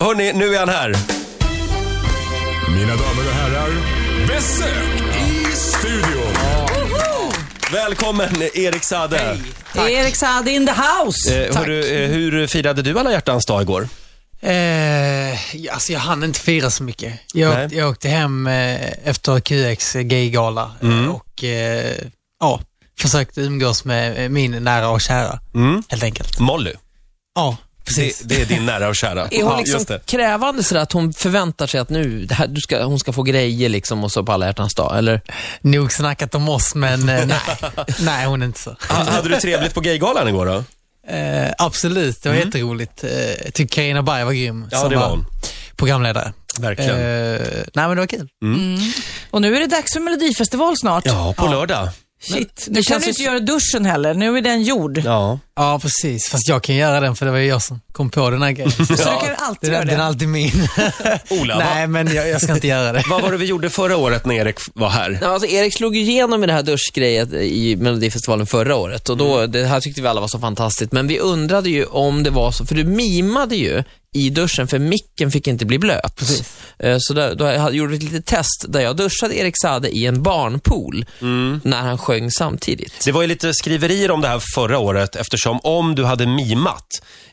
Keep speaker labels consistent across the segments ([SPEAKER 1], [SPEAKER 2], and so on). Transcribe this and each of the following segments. [SPEAKER 1] Hörni, Eh, nu är han här.
[SPEAKER 2] Mina damer och herrar, besök i studion.
[SPEAKER 1] Välkommen Erik Sade.
[SPEAKER 3] Erik Saade in the house.
[SPEAKER 1] Eh, hörru, eh, hur firade du alla hjärtans dag igår?
[SPEAKER 4] Eh, alltså jag hann inte fira så mycket. Jag,
[SPEAKER 1] Nej.
[SPEAKER 4] åkte, jag åkte hem eh, efter QX gaygala eh,
[SPEAKER 1] Mm.
[SPEAKER 4] och eh, ja, försökte umgås med eh, min nära och kära
[SPEAKER 1] Mm.
[SPEAKER 4] helt enkelt.
[SPEAKER 1] Molly.
[SPEAKER 4] Ja,
[SPEAKER 1] Det,
[SPEAKER 4] precis.
[SPEAKER 1] det är din nära och kära.
[SPEAKER 3] Är hon
[SPEAKER 1] Ja,
[SPEAKER 3] liksom
[SPEAKER 1] just det.
[SPEAKER 3] krävande sådär att hon förväntar sig att nu, det här, du ska, hon ska få grejer liksom och så på alla hjärtans dag, eller?
[SPEAKER 4] Nog snackat om oss men eh, nej, nej hon är inte så.
[SPEAKER 1] Ha- Hade du trevligt på gaygalan igår då?
[SPEAKER 4] Eh, absolut, det var jätteroligt. Eh, jag tycker Carina Berg var grym
[SPEAKER 1] Mm. Ja,
[SPEAKER 4] som
[SPEAKER 1] det var hon.
[SPEAKER 4] programledare.
[SPEAKER 1] Verkligen.
[SPEAKER 4] Eh, nej men det var kul.
[SPEAKER 5] Och nu är det dags för Melodifestival snart.
[SPEAKER 1] Ja, på lördag.
[SPEAKER 5] Shit, nu kan
[SPEAKER 3] känns
[SPEAKER 5] du
[SPEAKER 3] ju
[SPEAKER 5] inte göra duschen heller. Nu är den gjord.
[SPEAKER 1] Ja.
[SPEAKER 4] Ja precis, fast jag kan göra den för det var ju jag som kom på den här grejen.
[SPEAKER 5] Så du kan alltid
[SPEAKER 4] Den,
[SPEAKER 5] göra det.
[SPEAKER 4] den är alltid min.
[SPEAKER 1] Ola,
[SPEAKER 4] Nej, men jag, jag ska inte göra det.
[SPEAKER 1] Vad var det vi gjorde förra året när Erik var här?
[SPEAKER 3] Ja, alltså Erik slog ju igenom med det här duschgrejet i Melodifestivalen förra året och då, det här tyckte vi alla var så fantastiskt, men vi undrade ju om det var så, för du mimade ju i duschen för micken fick inte bli blöt. Eh, Så där, då hade- gjorde vi ett litet test där jag duschade Erik Sade i en barnpool
[SPEAKER 1] Mm.
[SPEAKER 3] när han sjöng samtidigt.
[SPEAKER 1] Det var ju lite skriverier om det här förra året eftersom om du hade mimat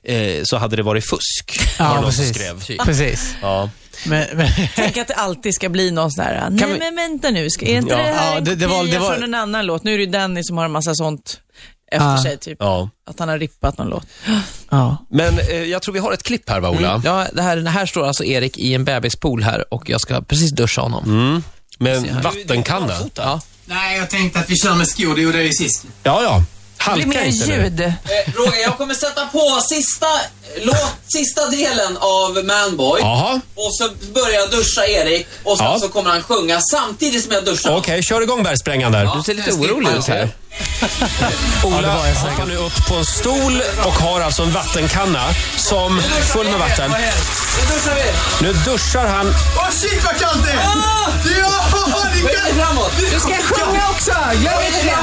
[SPEAKER 1] eh, så hade det varit fusk. var det någon som skrev.
[SPEAKER 4] precis.
[SPEAKER 1] Ja.
[SPEAKER 4] Men, men,
[SPEAKER 5] Tänk att det alltid ska bli någon sån här, nej
[SPEAKER 3] vi-
[SPEAKER 5] men vänta nu, ska, är inte
[SPEAKER 1] Ja.
[SPEAKER 5] det här
[SPEAKER 4] Ja,
[SPEAKER 5] en
[SPEAKER 4] det- det var- det
[SPEAKER 5] kopia
[SPEAKER 4] var-
[SPEAKER 5] från en annan låt? Nu är det ju Danny som har en massa sånt efter
[SPEAKER 4] Ah.
[SPEAKER 5] sig, typ.
[SPEAKER 1] ja.
[SPEAKER 5] Att han har rippat någon låt.
[SPEAKER 4] ja.
[SPEAKER 1] Men eh, jag tror vi har ett klipp här va, Ola?
[SPEAKER 3] Mm, ja, det här, här står alltså Erik i en bebispool här och jag ska precis duscha honom.
[SPEAKER 1] Mm. Med en vattenkanna.
[SPEAKER 3] Ja.
[SPEAKER 4] Nej, jag tänkte att vi kör med skor. Det gjorde jag ju sist.
[SPEAKER 1] Ja, ja.
[SPEAKER 5] Det blir
[SPEAKER 1] Halka
[SPEAKER 5] mer
[SPEAKER 1] inte nu.
[SPEAKER 5] ljud.
[SPEAKER 3] Eh, Roger, jag kommer sätta på sista, låt, sista delen av Manboy
[SPEAKER 1] Jaha,
[SPEAKER 3] och så börjar jag duscha Erik och
[SPEAKER 1] sen Ja. så
[SPEAKER 3] kommer han sjunga samtidigt som jag duschar.
[SPEAKER 1] okej. kör igång bergsprängaren där.
[SPEAKER 3] Du ser lite orolig ut här.
[SPEAKER 1] Ola hoppar nu upp på en stol och har alltså en vattenkanna som full med vatten. Nu duschar han.
[SPEAKER 6] Åh shit vad kallt det är! Ja, det är kallt!
[SPEAKER 3] Ah! framåt!
[SPEAKER 6] Du ska sjunga också! Gör inte det!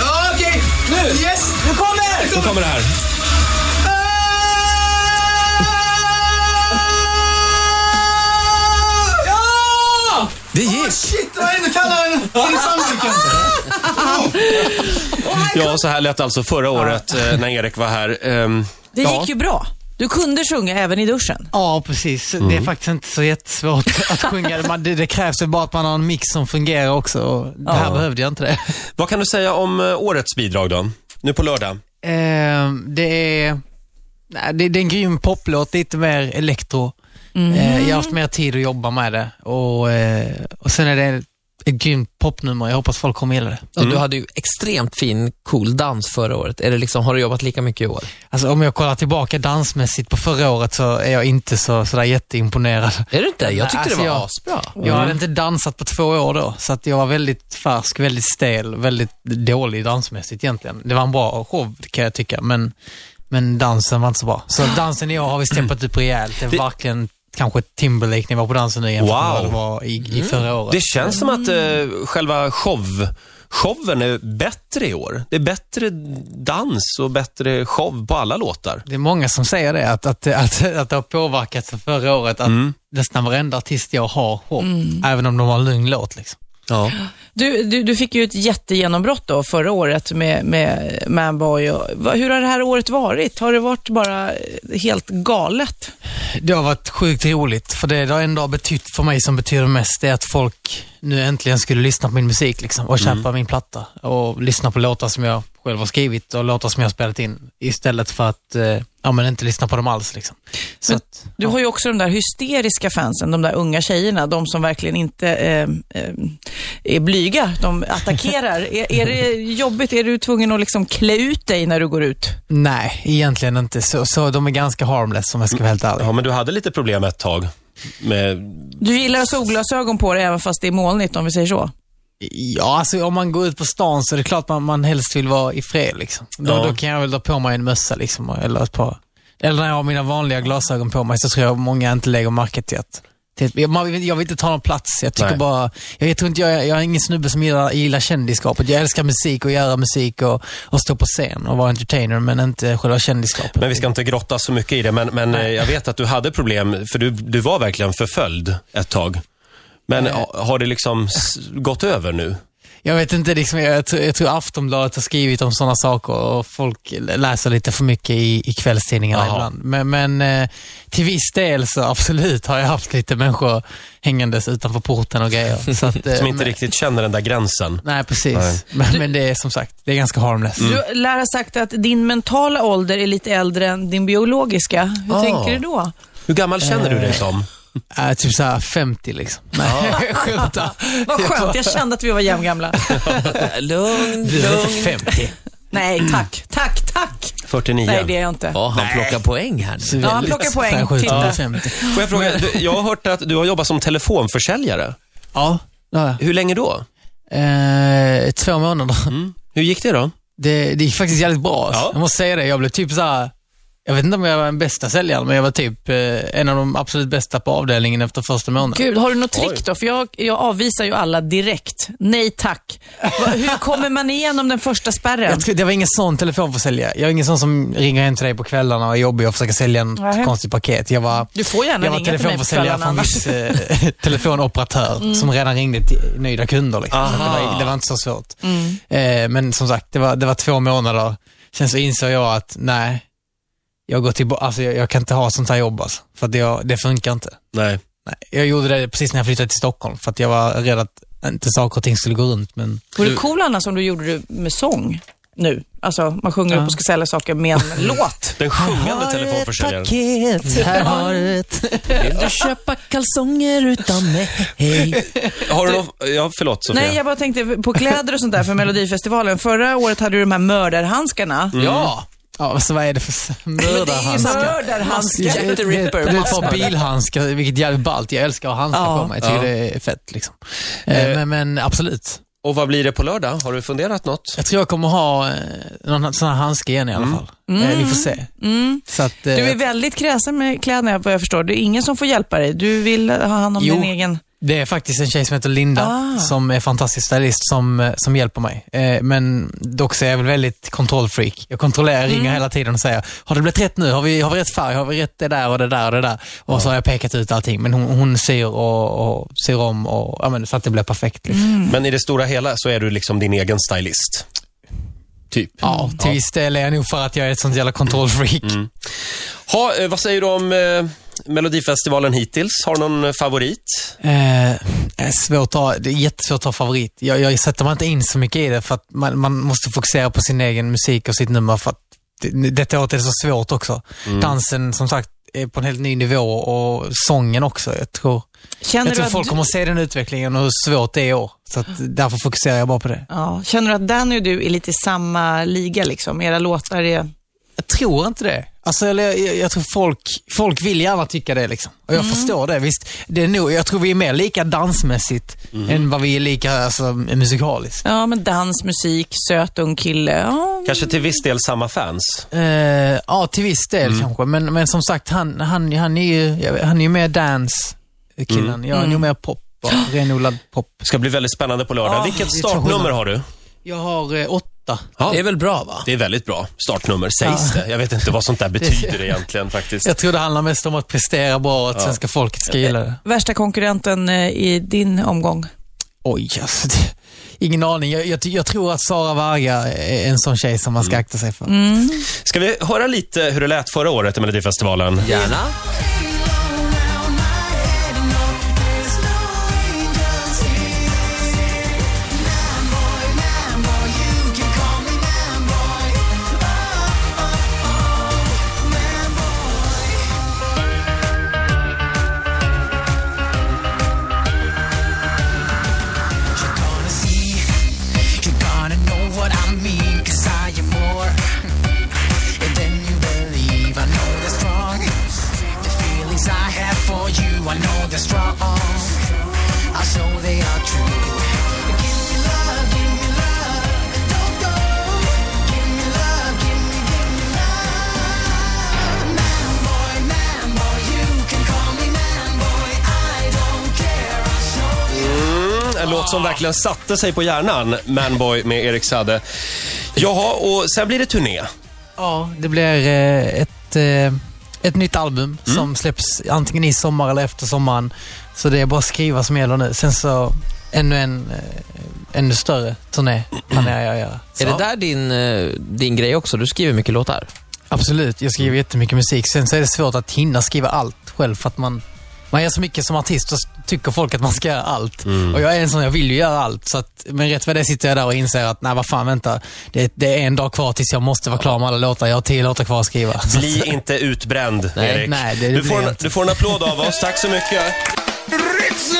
[SPEAKER 6] Ja, Okej, nu! Yes! Nu kommer!
[SPEAKER 1] Nu kommer det här. Det gick.
[SPEAKER 6] Shit, det var ännu kallare än än i Sandviken.
[SPEAKER 1] Ja, så här lät alltså förra året eh, när Erik var här. Ehm,
[SPEAKER 5] Det
[SPEAKER 1] ja.
[SPEAKER 5] gick ju bra. Du kunde sjunga även i duschen.
[SPEAKER 4] Ja, precis. Det
[SPEAKER 1] Mm.
[SPEAKER 4] är faktiskt inte så jättesvårt att sjunga. Man, det, det krävs ju bara att man har en mix som fungerar också. Och det här behövde jag inte det.
[SPEAKER 1] Vad kan du säga om eh, årets bidrag då? Nu på lördag.
[SPEAKER 4] Ehm, det är... Nej, det, det är en grym poplåt, lite mer elektro. Eh, jag har haft mer tid att jobba med det. Och, eh, och sen är det ett grymt popnummer. Jag hoppas folk kommer gilla det.
[SPEAKER 3] Och Du hade ju extremt fin, cool dans förra året. Är det liksom, har du jobbat lika mycket i år?
[SPEAKER 4] Alltså om jag kollar tillbaka dansmässigt på förra året så är jag inte så sådär jätteimponerad.
[SPEAKER 3] Är det inte? Jag tyckte
[SPEAKER 4] alltså
[SPEAKER 3] det var
[SPEAKER 4] jag-
[SPEAKER 3] asbra.
[SPEAKER 4] Jag
[SPEAKER 1] Mm.
[SPEAKER 4] hade inte dansat på två år då, så att jag var väldigt färsk, väldigt stel, väldigt dålig dansmässigt egentligen. Det var en bra show kan jag tycka, men, men dansen var inte så bra.
[SPEAKER 1] Ah.
[SPEAKER 4] Så dansen i år har vi steppat upp rejält. Det är verkligen kanske Timberlake-nivå på dansen nu jämfört med
[SPEAKER 1] Wow. Mm.
[SPEAKER 4] vad det var i, i förra året.
[SPEAKER 1] Det känns som att eh, själva show, showen är bättre i år. Det är bättre dans och bättre show på alla låtar.
[SPEAKER 4] Det är många som säger det, att, att, att, att det har påverkat sen förra året, att
[SPEAKER 1] Mm.
[SPEAKER 4] nästan varenda artist jag har show, även om de har en lugn låt. Liksom.
[SPEAKER 1] Ja.
[SPEAKER 5] Du, du, du fick ju ett jättegenombrott då förra året med, med Manboy. Och, va- hur har det här året varit? Har det varit bara eh, helt galet?
[SPEAKER 4] Det har varit sjukt roligt, för det det har ändå betytt för mig som betyder mest, det är att folk nu äntligen skulle lyssna på min musik liksom, och köpa min platta och lyssna på låtar som jag själv har skrivit och låtar som jag har spelat in istället för att eh, ja, men inte lyssna på dem alls. Liksom. Så
[SPEAKER 5] Men
[SPEAKER 4] att,
[SPEAKER 5] Du har ju också de där hysteriska fansen, de där unga tjejerna, de som verkligen inte eh, eh, är blyga. De attackerar. är, är det jobbigt? Är du tvungen att liksom klä ut dig när du går ut?
[SPEAKER 4] nej, egentligen inte. Så, så de är ganska harmless om jag ska vara helt ärlig.
[SPEAKER 1] ja, men du hade lite problem ett tag. Med,
[SPEAKER 5] Du gillar att ha solglasögon på dig även fast det är molnigt, om vi säger så.
[SPEAKER 4] Ja, alltså om man går ut på stan så är det klart man, man helst vill vara i fred liksom. Då,
[SPEAKER 1] Ja.
[SPEAKER 4] då kan jag väl dra på mig en mössa liksom, eller ett par. Eller när jag har mina vanliga glasögon på mig så tror jag många inte lägger märke till att Till, jag, man vill- jag vill inte ta någon plats. Jag tycker
[SPEAKER 1] Nej.
[SPEAKER 4] bara, jag, vet inte, jag, är- jag är ingen snubbe som gillar, gillar kändisskapet. Jag älskar musik och göra musik och, och stå på scen och vara entertainer, men inte själva kändisskapet.
[SPEAKER 1] Men vi ska inte grotta så mycket i det, men, men eh, jag vet att du hade problem, för du, du var verkligen förföljd ett tag. Men ha- har det liksom s- gått över nu?
[SPEAKER 4] Jag vet inte, liksom, jag, tror- jag tror Aftonbladet har skrivit om sådana saker och folk läser lite för mycket i, i kvällstidningarna
[SPEAKER 1] Jaha.
[SPEAKER 4] ibland. Men, men eh, till viss del så absolut har jag haft lite människor hängandes utanför porten och grejer. Så att, eh,
[SPEAKER 1] Som inte
[SPEAKER 4] men,
[SPEAKER 1] riktigt känner den där gränsen.
[SPEAKER 4] Nej, precis.
[SPEAKER 1] Nej. Mm.
[SPEAKER 4] Men, men det är som sagt, det är ganska harmless.
[SPEAKER 5] Du lär ha sagt att din mentala ålder är lite äldre än din biologiska. Hur
[SPEAKER 1] Ah.
[SPEAKER 5] tänker du då?
[SPEAKER 1] Hur gammal känner
[SPEAKER 5] Eh.
[SPEAKER 1] du dig som?
[SPEAKER 4] Äh, typ såhär 50 liksom. Nej, jag skämtar.
[SPEAKER 5] Vad skönt, jag kände att vi var jämngamla.
[SPEAKER 3] Lugn,
[SPEAKER 4] Du är inte
[SPEAKER 3] lugn.
[SPEAKER 4] 50.
[SPEAKER 5] Nej, tack, tack, tack.
[SPEAKER 1] 49?
[SPEAKER 5] Nej, det är jag inte.
[SPEAKER 3] Ja, han plockar poäng här nu.
[SPEAKER 5] Ja, han plockar poäng.
[SPEAKER 4] Särskilt
[SPEAKER 5] Titta.
[SPEAKER 4] under 50.
[SPEAKER 1] Får jag fråga, du, jag har hört att du har jobbat som telefonförsäljare.
[SPEAKER 4] Ja, ja.
[SPEAKER 1] Hur länge då? Mm.
[SPEAKER 4] Eh, två månader.
[SPEAKER 1] Hur gick det då?
[SPEAKER 4] Det, det gick faktiskt jävligt bra. alltså.
[SPEAKER 1] Ja.
[SPEAKER 4] Jag måste säga det. Jag blev typ så här. Jag vet inte om jag var den bästa säljaren, men jag var typ eh, en av de absolut bästa på avdelningen efter första månaden.
[SPEAKER 5] Gud, har du något trick då? För jag, jag avvisar ju alla direkt. Nej tack. Va- Hur kommer man igenom den första spärren?
[SPEAKER 4] Jag tror, det var ingen sån telefonförsäljare. Jag är ingen sån som ringer hem till dig på kvällarna och är jobbig och försöker sälja något
[SPEAKER 5] Nej.
[SPEAKER 4] konstigt paket. Jag var,
[SPEAKER 5] Du får gärna
[SPEAKER 4] jag var
[SPEAKER 5] ringa till mig på
[SPEAKER 4] telefonförsäljare
[SPEAKER 5] kvällarna
[SPEAKER 4] från en
[SPEAKER 5] annars. Mm.
[SPEAKER 4] viss eh, telefonoperatör som redan ringde till nöjda kunder. Liksom. Så att Det, var, det var inte så svårt.
[SPEAKER 5] Mm.
[SPEAKER 4] Eh, men som sagt, det var, det var två månader. Sen så insåg jag att nej, jag, går tillba- alltså, jag, jag kan inte ha sånt här jobb alltså, för att jag, det funkar inte.
[SPEAKER 1] Nej.
[SPEAKER 4] Nej, jag gjorde det precis när jag flyttade till Stockholm för att jag var rädd att inte saker och ting skulle gå runt. Men
[SPEAKER 5] Vore det cool annars om du gjorde det med sång nu? Alltså, man sjunger upp och ska sälja saker med en låt.
[SPEAKER 1] Den sjungande telefonförsäljaren.
[SPEAKER 3] paket,
[SPEAKER 4] Mm.
[SPEAKER 3] här har du ett. Vill du köpa kalsonger utan mig?
[SPEAKER 1] Har du någon... Ja, förlåt Sofia.
[SPEAKER 5] Nej, jag bara tänkte på kläder och sånt där för Melodifestivalen. Förra året hade du de här mördarhandskarna.
[SPEAKER 4] ja, ja, så vad är det för mördarhandskar?
[SPEAKER 5] Mördarhandskar.
[SPEAKER 3] Jack the Ripper,
[SPEAKER 4] Det- det- det är ett
[SPEAKER 3] massmördare.
[SPEAKER 4] par bilhandskar, vilket är jävligt ballt. Jag älskar att ha handskar
[SPEAKER 5] Ja.
[SPEAKER 4] på mig. Jag tycker
[SPEAKER 1] Ja.
[SPEAKER 4] det är fett. Liksom. Eh, men, men absolut.
[SPEAKER 1] Och vad blir det på lördag? Har du funderat något?
[SPEAKER 4] Jag tror jag kommer ha eh, någon sån här handske igen i alla fall. Eh, vi får se. Så att, eh,
[SPEAKER 5] Du är väldigt kräsen med kläderna vad jag förstår. Det är ingen som får hjälpa dig. Du vill ha hand om
[SPEAKER 4] Jo.
[SPEAKER 5] din egen...
[SPEAKER 4] det är faktiskt en tjej som heter Linda
[SPEAKER 5] Ah.
[SPEAKER 4] som är fantastisk stylist som, eh, som hjälper mig. Eh, men dock så är jag väl väldigt kontrollfreak. Jag kontrollerar, ringer hela tiden och säger, har det blivit rätt nu? Har vi, har vi rätt färg? Har vi rätt det där och det där och det där? Och så har jag pekat ut allting. Men hon, hon syr och, och syr om och, ja, men, så att det blir perfekt. Liksom.
[SPEAKER 5] Mm.
[SPEAKER 1] Men i det stora hela så är du liksom din egen stylist. Typ.
[SPEAKER 4] Ja, till viss del är jag nog för att jag är ett sånt jävla kontrollfreak.
[SPEAKER 1] Ha, eh, vad säger du om eh, Melodifestivalen hittills? Har du någon favorit?
[SPEAKER 4] Eh, det är svårt att ha, det är jättesvårt att ha favorit. Jag, jag sätter mig inte in så mycket i det för att man, man måste fokusera på sin egen musik och sitt nummer för att det, detta året är det så svårt också. Dansen, som sagt, är på en helt ny nivå och sången också. Jag tror,
[SPEAKER 5] Känner
[SPEAKER 4] jag
[SPEAKER 5] du
[SPEAKER 4] tror
[SPEAKER 5] att
[SPEAKER 4] folk
[SPEAKER 5] du...
[SPEAKER 4] kommer att se den utvecklingen och hur svårt det är i år. Så att därför fokuserar jag bara på det.
[SPEAKER 5] Ja. Känner du att Danny och du är lite i samma liga liksom? Era låtar är...
[SPEAKER 4] Jag tror inte det. Alltså, eller, jag, jag, jag tror folk, folk vill gärna tycka det liksom. Och jag förstår det. Visst, det är nog, jag tror vi är mer lika dansmässigt än vad vi är lika alltså, musikaliskt.
[SPEAKER 5] Ja, men dans, musik, söt ung kille. Ja.
[SPEAKER 1] Kanske till viss del samma fans.
[SPEAKER 4] Eh, ja, till viss del kanske. Men, men som sagt, han, han, han är ju jag vet- han är ju mer dance-killen. Jag är nog mer pop. bara, Renodlad pop.
[SPEAKER 1] Det ska bli väldigt spännande på lördag.
[SPEAKER 5] Ah,
[SPEAKER 4] Ja,
[SPEAKER 1] Vilket
[SPEAKER 4] det är så
[SPEAKER 1] startnummer
[SPEAKER 4] skillnad.
[SPEAKER 1] har du?
[SPEAKER 4] Jag har eh, åtta.
[SPEAKER 1] Ja.
[SPEAKER 3] Det är väl bra va?
[SPEAKER 1] Det är väldigt bra startnummer, sägs
[SPEAKER 5] Ah.
[SPEAKER 1] det. Jag vet inte vad sånt där betyder egentligen faktiskt.
[SPEAKER 4] Jag tror det handlar mest om att prestera bra och att svenska folket ska gilla det.
[SPEAKER 5] Värsta konkurrenten eh, i din omgång?
[SPEAKER 4] Oj, alltså, det, ingen aning. Jag, jag, ty- jag tror att Sara Varga är en sån tjej som man ska akta sig för.
[SPEAKER 1] Ska vi höra lite hur det lät förra året i Melodifestivalen?
[SPEAKER 3] Gärna.
[SPEAKER 7] You're gonna know what I mean, cause I am more than you believe. I know that's wrong. The feeling
[SPEAKER 1] Mm, som verkligen satte sig på hjärnan, Manboy med Erik Sade. Jaha, och sen blir det turné.
[SPEAKER 4] Ja, det blir eh, ett, eh, ett nytt album som släpps antingen i sommar eller efter sommaren. Så det är bara att skriva som gäller nu. Sen så ännu en eh, ännu större turné planerar jag att göra.
[SPEAKER 3] Är det där din, eh, din grej också? Du skriver mycket låtar.
[SPEAKER 4] Absolut, jag skriver jättemycket musik. Sen så är det svårt att hinna skriva allt själv för att man, man gör så mycket som artist och s- tycker folk att man ska göra allt. Och jag är en sån, jag vill ju göra allt. Så att, men rätt vad det är sitter jag där och inser att, nej vad fan vänta. Det, det är en dag kvar tills jag måste vara klar med alla låtar. Jag har tio låtar kvar att skriva. Så
[SPEAKER 1] Bli inte utbränd,
[SPEAKER 3] Nej,
[SPEAKER 1] Erik.
[SPEAKER 4] nej, det
[SPEAKER 1] du,
[SPEAKER 4] blir
[SPEAKER 1] får
[SPEAKER 4] jag
[SPEAKER 1] en,
[SPEAKER 4] inte.
[SPEAKER 1] du får en applåd av oss. Tack så mycket.
[SPEAKER 2] Ritzing!